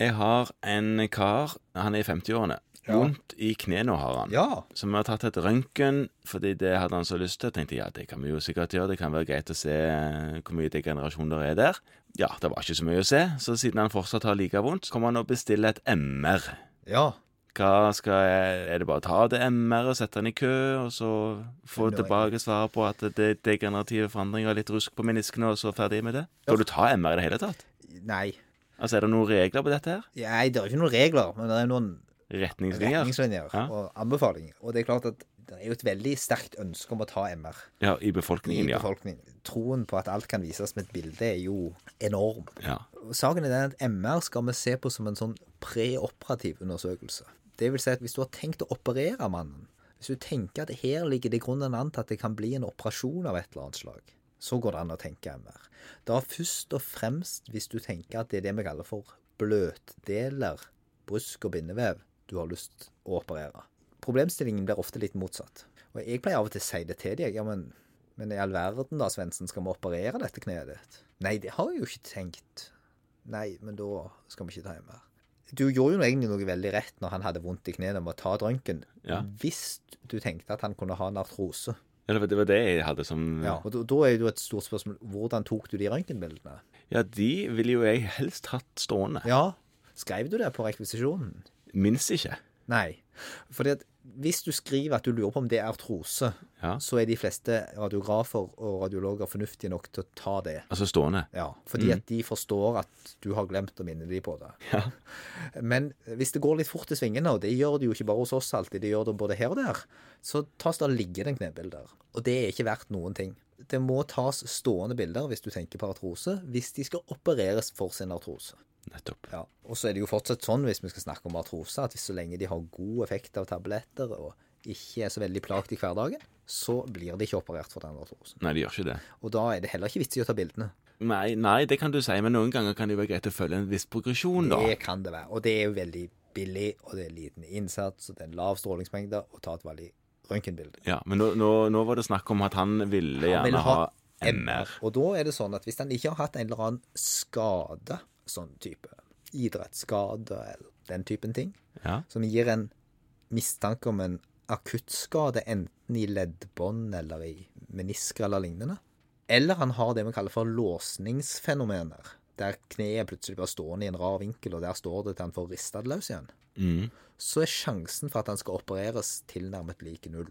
Jeg har en kar, han er i 50-årene. Ja. Vondt i knærne har han. Ja. Så vi har tatt et røntgen, fordi det hadde han så lyst til. Jeg tenkte ja, det kan vi jo sikkert gjøre. Det kan være greit å se eh, hvor mye degenerasjon der er der. Ja, det var ikke så mye å se, så siden han fortsatt har like vondt, så kommer han og bestiller et MR. Ja. Hva skal jeg, Er det bare å ta det MR-et, sette den i kø, og så få Finne vei. tilbake svaret på at det er degenerative forandringer, litt rusk på meniskene, og så ferdig med det? Skal du ta MR i det hele tatt? Nei. Altså, Er det noen regler på dette her? Nei, det er ikke noen regler, men det er noen Retningslinjer? retningslinjer Ja. og anbefalinger. Og det er klart at det er jo et veldig sterkt ønske om å ta MR Ja, i i befolkningen, ja. befolkningen. Troen på at alt kan vises med et bilde, er jo enorm. ja. Og Saken er den at MR skal vi se på som en sånn preoperativ undersøkelse. Det vil si at hvis du har tenkt å operere mannen, hvis du tenker at her ligger det i grunnen an til at det kan bli en operasjon av et eller annet slag, så går det an å tenke MR. Da først og fremst hvis du tenker at det er det vi kaller for bløtdeler, brusk og bindevev, du har lyst å operere. Problemstillingen blir ofte litt motsatt. Og jeg pleier av og til å si det til deg, ja, men, men i all verden da, Svendsen, skal vi operere dette kneet ditt? Nei, det har jeg jo ikke tenkt. Nei, men da skal vi ikke ta MR. Du gjorde jo egentlig noe veldig rett når han hadde vondt i knærne med å ta drønken. Ja. Hvis du tenkte at han kunne ha en artrose. Ja, det var- det var det jeg hadde som Og da, da er det jo et stort spørsmål hvordan tok du de røntgenbildene? Ja, de ville jo jeg helst hatt stående. Ja. Skrev du det på rekvisisjonen? Minst ikke. Nei. Fordi at hvis du skriver at du lurer på om det er artrose, Ja. så er de fleste radiografer og radiologer fornuftige nok til å ta det. Altså stående. Ja, fordi at de forstår at du har glemt å minne de på det. Men hvis det går litt fort i svingene, og det gjør det jo ikke bare hos oss alltid, det gjør det både her og der, så tas det liggende knebilder. Og det er ikke verdt noen ting. Det må tas stående bilder hvis du tenker på artrose, hvis de skal opereres for sin artrose. Nettopp. Ja, og så er det jo fortsatt sånn hvis vi skal snakke om artrose, at hvis så lenge de har god effekt av tabletter og ikke er så veldig plagt i hverdagen, så blir de ikke operert for den artrosen. Nei, de gjør ikke det. Og da er det heller ikke vits i å ta bildene. Nei, nei, det kan du si, men noen ganger kan det jo være greit å følge en viss progresjon, Sånn da. Det kan det være. Og det er jo veldig billig, og det er liten innsats, og det er lav strålingsmengde, og ta et veldig røntgenbilde. Ja, Men nå, nå, nå var det snakk om at han ville gjerne ville ha, ha MR. Og da er det sånn at hvis han ikke har hatt en eller annen skade, sånn type idrettsskade eller den typen ting, Ja. som gir en mistanke om en akuttskade, enten i leddbånd eller i menisker eller lignende. Eller han har det vi kaller for låsningsfenomener, der kneet plutselig blir stående i en rar vinkel, og der står det til han får rista det løs igjen. Mm. så er sjansen for at han skal opereres tilnærmet lik null.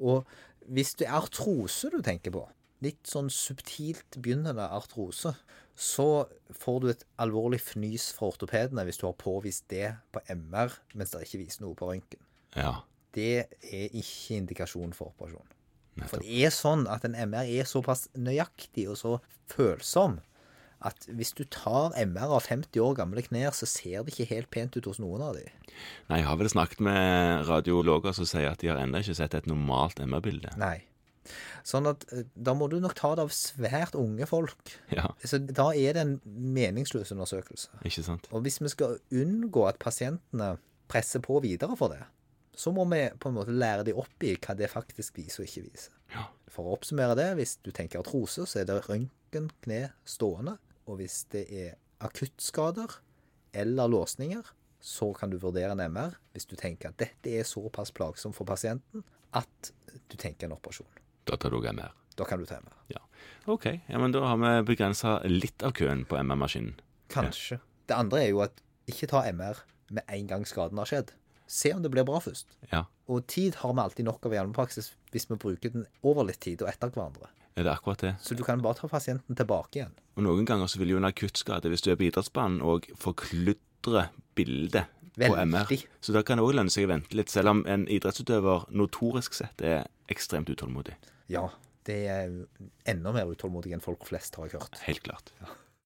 Og hvis det er artrose du tenker på, litt sånn subtilt begynnende artrose, så får du et alvorlig fnys fra ortopedene hvis du har påvist det på MR, mens det ikke viser noe på røntgen. ja. Det er ikke indikasjon for operasjon. For Nettopp. det er sånn at en MR er såpass nøyaktig og så følsom at hvis du tar MR av 50 år gamle knær, så ser det ikke helt pent ut hos noen av de. Nei, jeg har vel snakket med radiologer som sier at de har ennå ikke sett et normalt MR-bilde. Nei. Sånn at eh, da må du nok ta det av svært unge folk. Ja, Så da er det en meningsløs undersøkelse. ikke sant? Og hvis vi skal unngå at pasientene presser på videre for det, så må vi på en måte lære de opp i hva det faktisk viser og ikke viser. Ja. For å oppsummere det, hvis du tenker artrose, så er det røntgen, kne, stående. Og hvis det er akuttskader eller låsninger, så kan du vurdere en MR hvis du tenker at dette er såpass plagsomt for pasienten at du tenker en operasjon. Da tar du også MR. Da kan du ta MR. Ja. OK. Ja, men da har vi begrensa litt av køen på MR-maskinen. Kanskje. Det andre er jo at ikke ta MR med en gang skaden har skjedd. Se om det blir bra først. Ja. Og tid har vi alltid nok av i allmennpraksis hvis vi bruker den over litt tid og etter hverandre. Er det akkurat det? Så du kan bare ta pasienten tilbake igjen. Og noen ganger så vil jo en akuttskade, hvis du er på idrettsbanen, og forkludre bildet på Veldig. MR. Så da kan det òg lønne seg å vente litt, selv om en idrettsutøver notorisk sett er ekstremt utålmodig. Ja. Det er jo enda mer utålmodig enn folk flest, har jeg hørt. Helt klart.